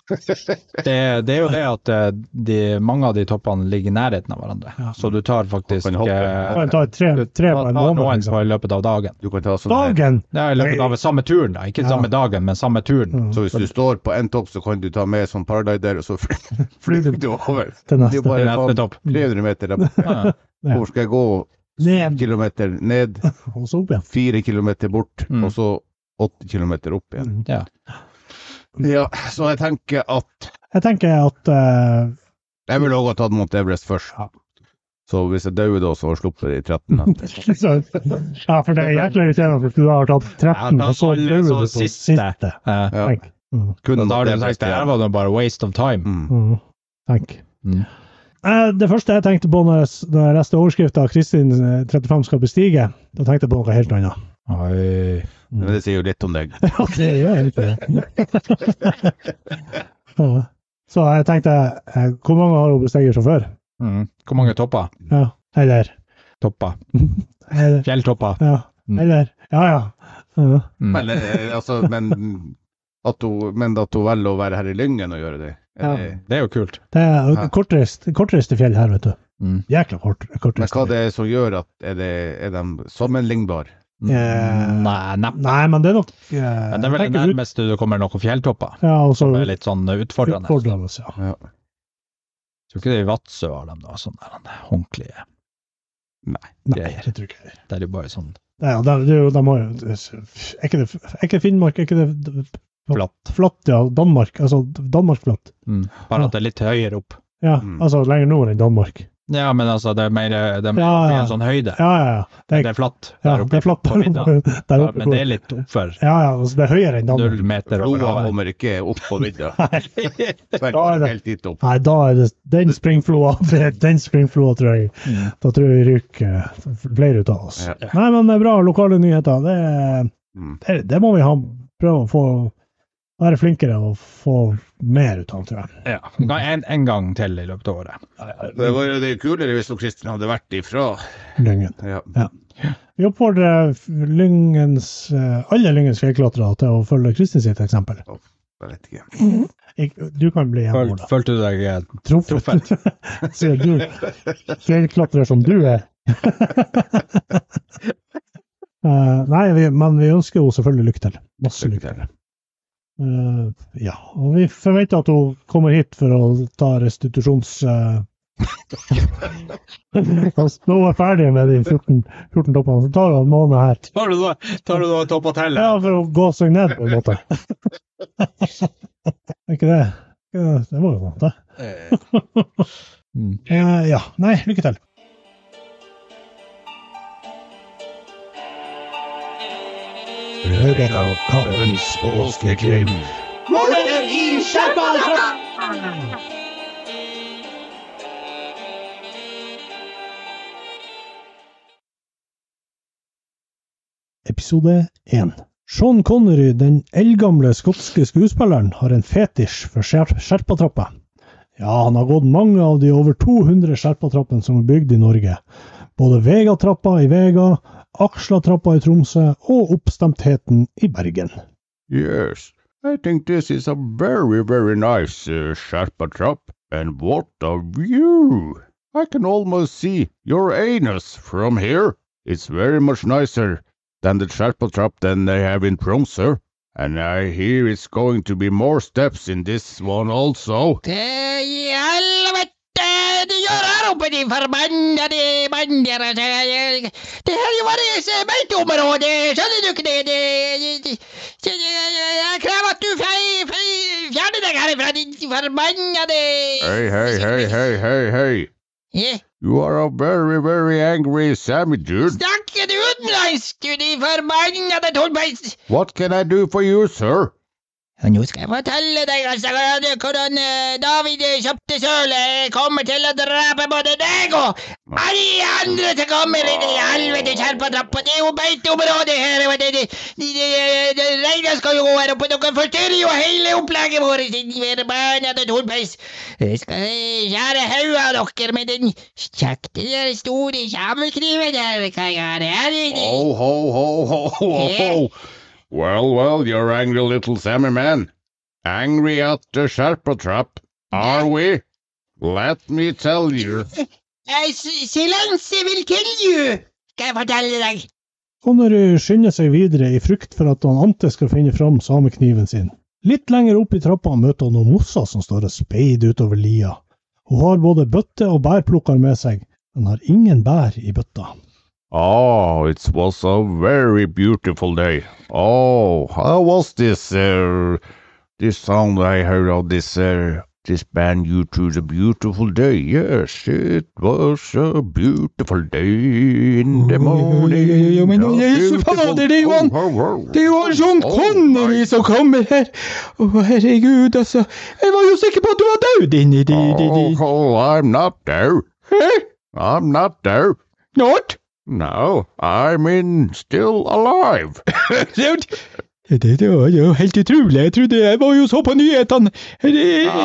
det, det er jo det at eh, de, mange av de toppene ligger i nærheten av hverandre, Ja. så du tar faktisk Kan hoppe. eh, Kan jeg ta tre, du tre tar på en måned? noen Liksom. på i løpet av dagen. Du kan ta sånn her. Dagen! Det er i løpet av samme turen, da. Ikke Ja. samme dagen, men samme turen. Mm. Så hvis du står på en topp, så kan du ta med sånn paraglider, og så fly- flyr du over. Til Det er jo neste. Det bare er neste faen topp. 300 meter der borte. Ja. Ja. Hvor skal jeg gå? Ned Kilometer ned, og så opp igjen. fire kilometer bort, Mm. og så åtte kilometer opp igjen. Mm. Ja, så jeg tenker at Jeg tenker at eh, Jeg ville òg ha tatt Mount Everest først. Ja. Så hvis jeg dør da, så har jeg sluppet de 13. da. så, Ja, for det er jækla irriterende hvis du har tatt 13, Ja, da og så alle dør du så på siste. siste. Eh, Ja. Tenk. Mm. Kun Men da har det du sagt det her var nå bare waste of time. Mm. Mm. Tenk. Mm. Eh, Det første jeg tenkte på når jeg s- når jeg leste overskrifta 'Kristin eh, 35 skal bestige', da tenkte jeg på noe helt annet. Oi. Men det sier jo litt om deg. Mm. Ja, det gjør jeg ikke. Ja. Så jeg tenkte eh, Hvor mange har hun besteget fra før? Mm. Hvor mange topper? Ja. Eller Topper. Eller Fjelltopper. Ja. Mm. Eller, ja, ja. ja. Mm. Men, eh, altså, men, at hun, men at hun velger å være her i Lyngen og gjøre det. Ja. Eh, Det er jo kult. Det er Hæ? kortreist, kortreist i fjell her, vet du. Mm. Jækla kort, Men kortreist. hva det er som gjør at Er, det, er de sammenlignbare? Eh, Nei, nei. Nei, men det er nok eh, Men det er jeg vel det tenker ut- nærmeste du kommer noen fjelltopper. Ja, altså Det er litt sånn utfordrende. utfordrende. Ja. Tror ikke det er i Vadsø har de noe sånn der, han, ordentlige Nei, Greier. det tror ikke jeg. Der er det bare sånn Nei, eh, nou ja, det er- det er jo- de har jo Er ikke det er ikke det Finnmark? Er ikke det flatt. flatt, ja? Danmark? Altså Danmark-flatt. Mm. Bare at det er litt høyere opp. Ja, Mm. altså lenger nord enn Danmark. Ja, men altså, det er mer det er Ja, ja. en sånn høyde. Ja, ja, ja. Det Det er, er flatt. ja, der oppe det er flatt på der vidda. oppe. Der Ja, oppe men det går- er litt oppfor. ja, ja, altså, det er høyere enn Null Danmark. meter over Floa havet. kommer ikke opp på vidda. Da er det- Helt dit opp. Nei, da er det den springfloa, det er den springfloa, tror jeg. Mm. Da tror jeg vi ryker eh, flere ut av oss. Ja. Nei, men det er bra lokale nyheter. Det, er- Mm. det, det må vi ha, prøve å få være flinkere og få mer ut av, tror jeg. Ja. vi kan En, en gang til i løpet av året. Det var jo det er kulere hvis hun Kristin hadde vært ifra. Lyngen. Ja. Vi oppfordrer f- Lyngens, eh, alle Lyngens fjellklatrere til å følge Kristin sitt eksempel. Jeg vet ikke. Ik- Du kan bli en Føl, av dem. følte du deg eh, Truffet. truffet? Sier du. Fjellklatrer som du er. Eh, nei, vi, men vi ønsker henne selvfølgelig lykke til. Masse lykke til. Eh, ja, og vi forventer at hun kommer hit for å ta restitusjons... eh, Nå er hun ferdig med de 14, 14 toppene, så tar hun en måned her. Tar du da- tar du da topp og teller? Ja, for å gå seg ned på en måte. Er ikke det? Ikke det det var jo sant, det. Mm. Eh, ja. Nei, lykke til. Episode 1. Sean Connery, den eldgamle skotske skuespilleren, har en fetisj for skjer- sherpatrapper. Ja, han har gått mange av de over 200 sherpatrappene som er bygd i Norge. Både Vegatrappa i Vega, Aksla-trappa i Tromsø og Oppstemtheten i Bergen. Yes, I think this is a very, very nice uh, Sherpa trap. And what a view! I can almost see your anus from here. It's very much nicer than the Sherpa trap than they have in Tromsø. And I hear it's going to be more steps in this one also. Det i helvete de gjør her oppe, de forbannede bandere. Det her er jo vårt beiteområde, skjønner du ikke det? det, det- det- det- det- Jeg krever at du fei- fei- fjerner deg herifra, din forbannede Hey, Eh, hey, hey, hey, hey, hey! Ja. You are a very, very angry Sammy dude. Snakker du utenlandsk, du de forbannede tullbeist? What can I do for you, sir? Ja, nå skal jeg fortelle deg altså, hvordan eh, David kjøpte søle kommer til å drepe både deg og alle andre som kommer inn i helvete skjerpatrappa. Det er jo beiteområdet her. og Det, det, det, det, det regnet skal jo gå her oppe. Dere forstyrrer jo hele opplegget vårt. din forbannede tullpeis. Jeg skal eh, skjære hodet av dere med den kjekte der store kjevekniven der. Hva er det her? Ho, ho, ho, ho, ho, ho. Well, well, you're angry little Sammy man. Angry at the Sherpa trap, are we? Let me tell you. Eh, si- Silense vil kill you, skal jeg fortelle deg. Connery skynder seg videre i frykt for at han Ante skal finne fram samekniven sin. Litt lenger opp i trappa møter han noen mosser som står og speider utover lia. Hun har både bøtte og bærplukker med seg, men har ingen bær i bøtta. Oh, it was a very beautiful day. Oh, how was this, uh, this sound I heard of this uh, This band you choose a beautiful day. Yes, it was a beautiful day in the Oi, oi, morning. oi, oi, oi, men A å, Jesu beautiful- fader, det er jo han- Oh, oh, oh. Det er jo han John Oh, Connery nei. som kommer her! Å, herregud, altså. Jeg var jo sikker på at du var død inni de, de, Oh, de. oh, I'm not there. Hæ? I'm not there. Not? No, I'm in still alive. Det, det, det var jo helt utrolig. Jeg trodde jeg var jo så på nyhetene. Ah,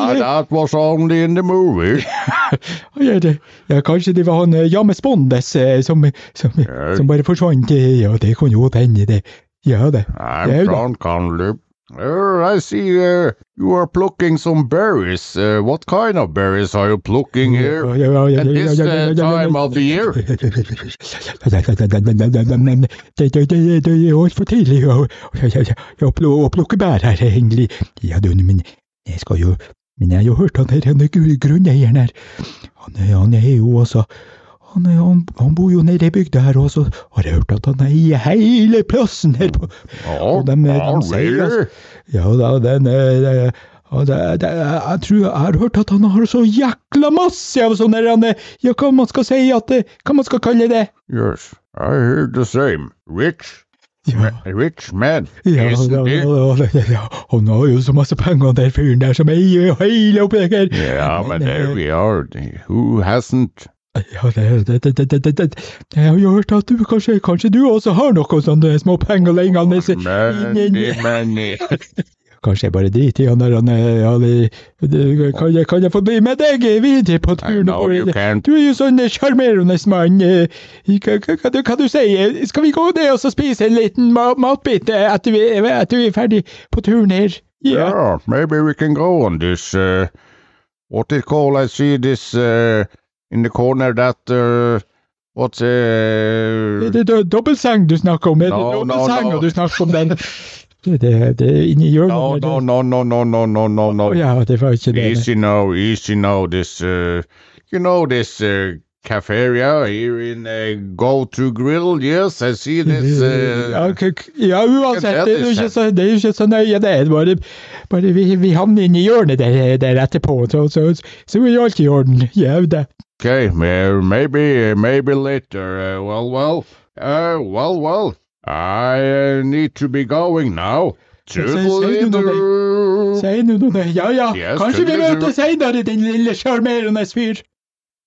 Herre- that was only in the movie. Ja, det, ja, kanskje det var han eh, James Bondes eh, som, som, Ja. som bare forsvant. eh, Ja, det kunne jo hende, det. Ja, det. Yeah, I'm but- John Conley. Er, I see uh, you are plucking some berries. Uh, what kind of berries are you plucking here? At this uh, time of the year? Det, det, det, det er altfor tidlig å, å, å, å plukke bær her, egentlig. Ja, du, men jeg skal jo Men jeg har jo hørt han her, han er gru- grunneieren her. Han, er- han er jo altså han, er- han, han bor jo nede i bygda her, og så har jeg hørt at han eier hele plassen her på Oh, Og dem, eh, oh, dem sier, really? Ja da, den eh, eh, og det, det, jeg tror jeg har hørt at han har så jækla masse av sånne der, han, eh, Ja, hva man skal si at eh, Hva man skal kalle det? Yes, I heard the same. Rich, Ja, a rich man, ja, ja, isn't ja, he? ja, ja, ja. Han har jo så masse penger, han der fyren der som eier hele opplegget her. Yeah, but Men, there eh, we are. Who hasn't? Ja, det, det, det, det, det, det. Jeg har jo hørt at du kanskje, kanskje du også har noen sånne små penger liggende inni- inni- Many, many. Kanskje jeg bare driter i han der han eh, ja, det, det, kan, jeg, kan jeg få bli med deg videre på I turen? know oppover? you can't. Du er jo sånn eh, sjarmerende mann. eh, Hva, hva, hva, du- hva du sier du? Skal vi gå ned og så spise en liten ma matbit eh, etter vi, etter vi er ferdig på turen her? Ja. Yeah, maybe we can go on this. Uh, what it call? I see this uh, in the corner. That uh, what's uh, Er det do- dobbeltseng du snakker om? Er det No, no, dobbeltsenga no. du snakker om den? Det, det, det er inni hjørnet. no, der, no, det- no, no, no, no, no, no, no. Å Ja, det var ikke det. nei. Easy now, easy now. This, uh, you know, this uh, cafeteria here in uh, Go to Grill. Yes, I see this. ja, Uh, k- k- ja, uansett, Ja, det det er jo er ikke så, det er jo ikke så nøye, det. er Bare, bare vi, vi havner inn i hjørnet der, der etterpå, så, så, så er jo alt i orden. Ja, det. okay, uh, maybe, uh, maybe later. Uh, well, well, uh, well, well. I uh, need to be going now. To the Say- say to the- leader. Si nå noe. Ja ja, Yes, kanskje vi det- møtes seinere, din lille sjarmerende fyr.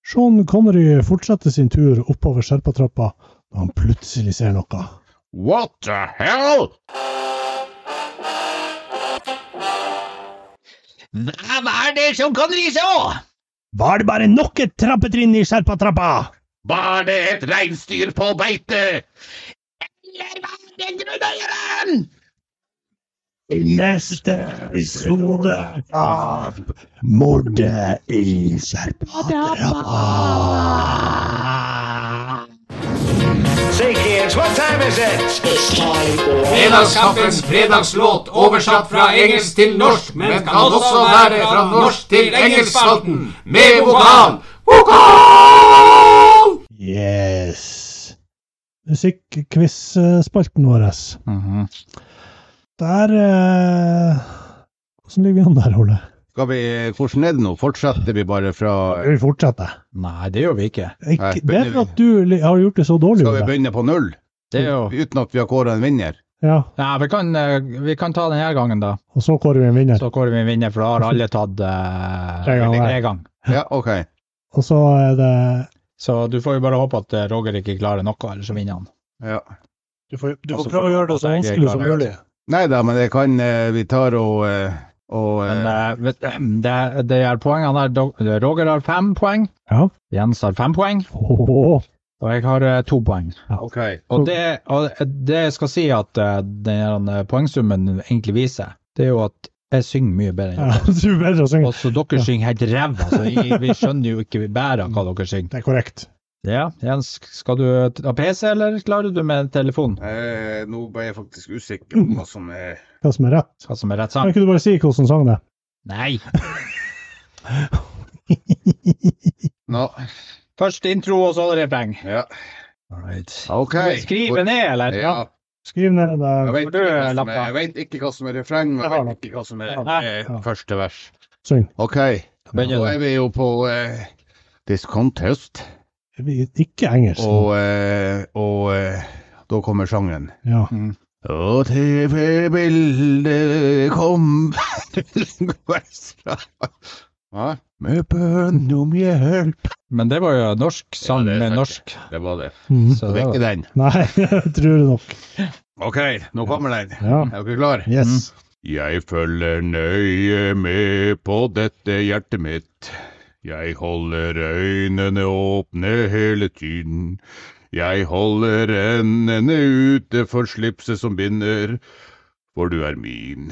Sean Connery fortsetter sin tur oppover Sherpatrappa da han plutselig ser noe. What the hell? Hva var det som Connery så? Var det bare nok et trappetrinn i Sherpatrappa? Var det et reinsdyr på beite? Eller var det grunneieren? I neste episode av Mordet i Sherpatrappa. Say, kids, what time is it? Fredagskaffens fredagslåt oversatt fra engelsk til norsk, men Altså kan også være fra norsk til engelskspalten med vokal. Vokal! Yes. Musikkquiz-spalten vår. Der eh, Hvordan ligger vi an der, Ole? Skal vi, hvordan er det nå? Fortsetter vi bare fra Vi fortsetter. Nei, det gjør vi ikke. Ikke, Nei, det er begynner for at du li- har gjort det så dårlig. Skal vi Ole. begynne på null? Det er jo... Uten at vi har kåra en vinner? Ja, Nei, vi kan, eh, vi kan ta denne gangen, da. og så kårer vi en vinner. Så kårer vi en vinner, for da har alle tatt eh, Tre ganger. tre ganger. Ja, OK. Og så er det Så du får jo bare håpe at eh, Roger ikke klarer noe, ellers så vinner han. Ja. Du får, får prøve å gjøre det så vanskelig som mulig. Nei da, men det kan eh, Vi tar og, eh, og eh, Men eh, vet, det, det er poengene der. Do- Roger har fem poeng. Ja. Jens har fem poeng. Åh, Og jeg har eh, to poeng. OK. Og det, og det jeg skal si at eh, den her poengsummen egentlig viser, det er jo at jeg synger mye bedre enn ja, dere. du er bedre å synge. Og så dere synger helt ræva, så jeg- vi skjønner jo ikke bæra hva dere synger. Det er korrekt. Ja, Jens, skal du ha PC, eller klarer du med telefon? Eh, nå ble jeg faktisk usikker på hva som er Hva som er rett. Hva som er rett Kan sang? ikke du bare si hvordan sang det? Nei! Nå. Først intro, og så refreng. Ja. All right. OK. Skriv det ned, eller? Ja. Skriv ned det. Jeg vet, Hvor du eh, ikke hva som lapper? er, jeg vet ikke hva som er refreng, og jeg vet ikke hva som er Nei. eh, første vers. Synd. OK, nå er vi jo på eh, This Contest, Det blir Ikke engelsk. og, eh, og eh, da kommer sangen. Ja. Mm. Og TV-bildet kom verstra Hva? Med bønn om hjelp. Men det var jo norsk sang Ja, det er med sant. norsk. Det var det. Mhm. Så det Det var var, ikke den. Nei, jeg tror det nok. OK, nå kommer den. Ja. Er dere klar? Mm. Yes. Jeg følger nøye med på dette hjertet mitt. Jeg holder øynene åpne hele tiden. Jeg holder endene ute for slipset som binder, for du er min.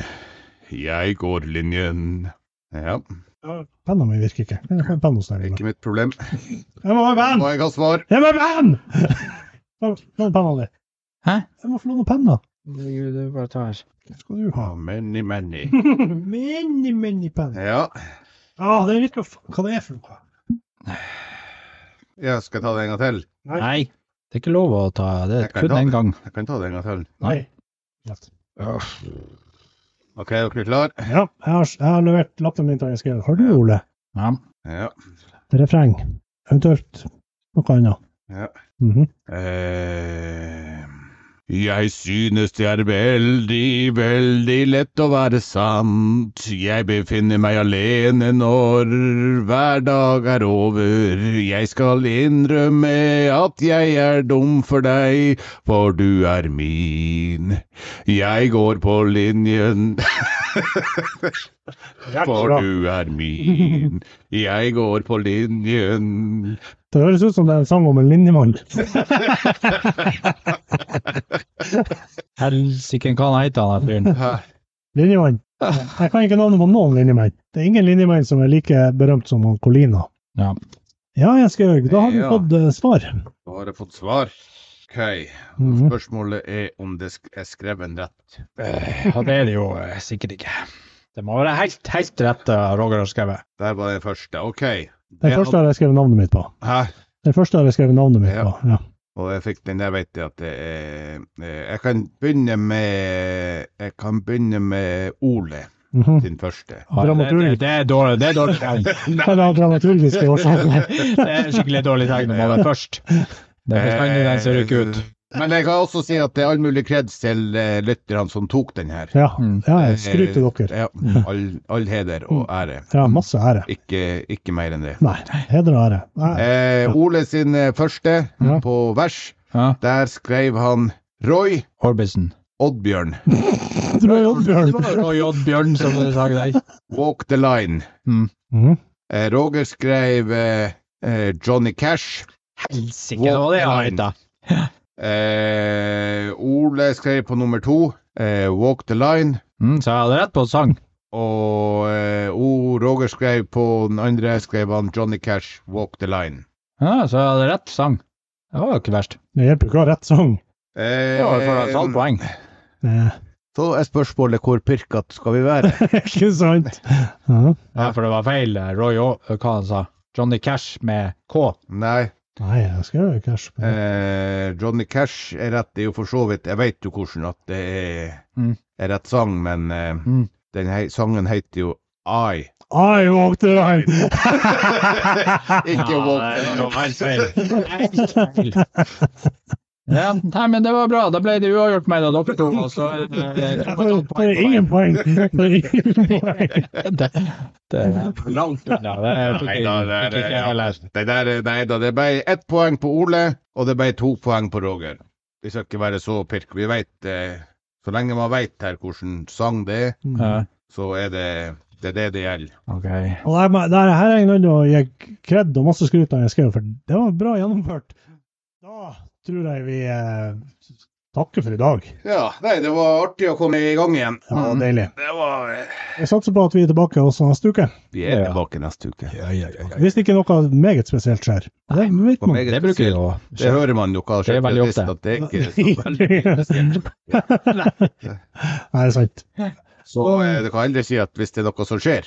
Jeg går linjen. Ja, Penna mi virker ikke. Jeg har en penn hos deg. Ola. ikke mitt problem. Jeg må ha en penn! Må jeg ha svar? Jeg må ha en penn! Lån penna di. Hæ? Jeg må få låne penna. det bare tar. Hva skal du ha? Ja, many, many. Mini, mini penn. Ja, Ah, det virker f- Hva det er for noe? jeg skal ta det en gang til. Nei, det er ikke lov å ta det. Jeg kan Kun ta én det. gang. Jeg kan ta det en gang til. Nei. Lett. Ok, er dere klar? Ja, jeg har, jeg har levert lappen min til engelsk. Har du, Ole? Ja. Ja. Det er refreng. Eventuelt noe annet. Ja. Mhm. Eh, Jeg synes det er veldig, veldig lett å være sant. Jeg befinner meg alene når hver dag er over. Jeg skal innrømme at jeg er dum for deg, for du er min. Jeg går på linjen, for bra. du er min. Jeg går på linjen. Det høres ut som det er en sang om en linjemann. Helsike, hva han heter han der fyren? Linjemann. Jeg kan ikke navnet på noen linjemenn. Det er ingen linjemenn som er like berømt som han Colina. Ja. Ja, jeg skal gjøre det. Da har vi Ja. fått eh, svar. Da har jeg fått svar. Ok, Mhm. spørsmålet er om det sk er skrevet rett. Ja, det er det jo eh, sikkert ikke. Det må være helt, helt rett eh, Roger har skrevet. Der var den første. Ok. Den første har jeg skrevet navnet mitt på. Hæ? Den første har jeg skrevet navnet mitt Ja. på. Ja. Og jeg fikk den, jeg vet at det er eh, Jeg kan begynne med Jeg kan begynne med Ole, Mhm. sin første. Ja, det- Det, Dramaturg. det er dårlig, det er dårlig tegn. Det er av dramaturgiske årsaker. Det er skikkelig dårlig tegn å måle først. Det er bestandig den ser ikke ut. Eh, Men jeg kan også si at det er all mulig kreds til eh, lytterne som tok den her. Eh, Ja, Mm. ja jeg skryter dere. Mm. Ja, all, all heder og ære. Ja, masse ære. Ikke, ikke mer enn det. Nei, heder og ære. Nei. Eh, Ole sin eh, første Ja. på vers, Ja. der skrev han Roy Orbison. Oddbjørn, Du er jo Eh. Det Oddbjørn. var jo J. Bjørn som du sa deg. Walk the Line. Mhm. Eh, Roger skrev eh, eh, Johnny Cash. Helsike, det var det han het, da. Eh, Ole skrev på nummer to eh, Walk the Line. Mm, så jeg hadde rett på sang. Og eh, o, Roger skrev på den andre skrev han Johnny Cash, Walk the Line. Ja, så jeg hadde rett sang. Det var jo ikke verst. Det hjelper jo ikke å ha rett sang. Eh, Det var jo for et halvt poeng. Eh, så er spørsmålet hvor pirkete skal vi være? ikke sant? Ja. Ja, for det var feil. eh, Roy O... Hva han sa? Johnny Cash med K. Nei, Nei, jeg skrev jo cash. på det. eh, Johnny Cash er rett. Det er jo for så vidt Jeg vet jo hvordan at det er, Mm. er rett sang, men eh, Mm. den hei, sangen heter jo I. I walked the line! Ikke Walk the Line. helt feil. Helt feil. Ja, nei, men det var bra. Da ble det uavgjort mellom dere to. Og så, eh, det var et halvt Det er poeng på meg. ingen poeng! Det er ingen poeng. det, det er langt unna. Det fikk jeg- Neida, det er- fikk ikke jeg lært. Det der, er- nei da, det ble ett poeng på Ole, og det ble to poeng på Roger. Vi skal ikke være så pirk. Vi vet, eh, så lenge man vet her hvordan sang det er, Ja, så er det det er det det gjelder. ok. Mm. Og der, må- der, her er jeg nødt til å gi kred og masse skryt når jeg skrev, for det var bra gjennomført. Da tror jeg vi eh, takker for i dag. Ja, nei, det var artig å komme i gang igjen. Ja, Mm. det var deilig. Det var eh, Jeg satser på at vi er tilbake også neste uke. Vi er Ja. tilbake neste uke. Hvis ikke noe meget spesielt skjer. Det vet Og man. meget Det bruker vi spesielt. å Det hører man jo hva Det er veldig ofte. at det er ikke så veldig Nei, det er sant. Så eh, du kan heller si at hvis det er noe som skjer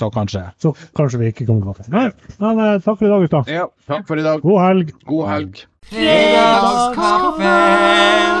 Så kanskje. Så kanskje vi ikke kommer tilbake. Nei, men eh, takk for i dag, gutta. Ja, takk for i dag. God helg. God helg. Fredagskaffen!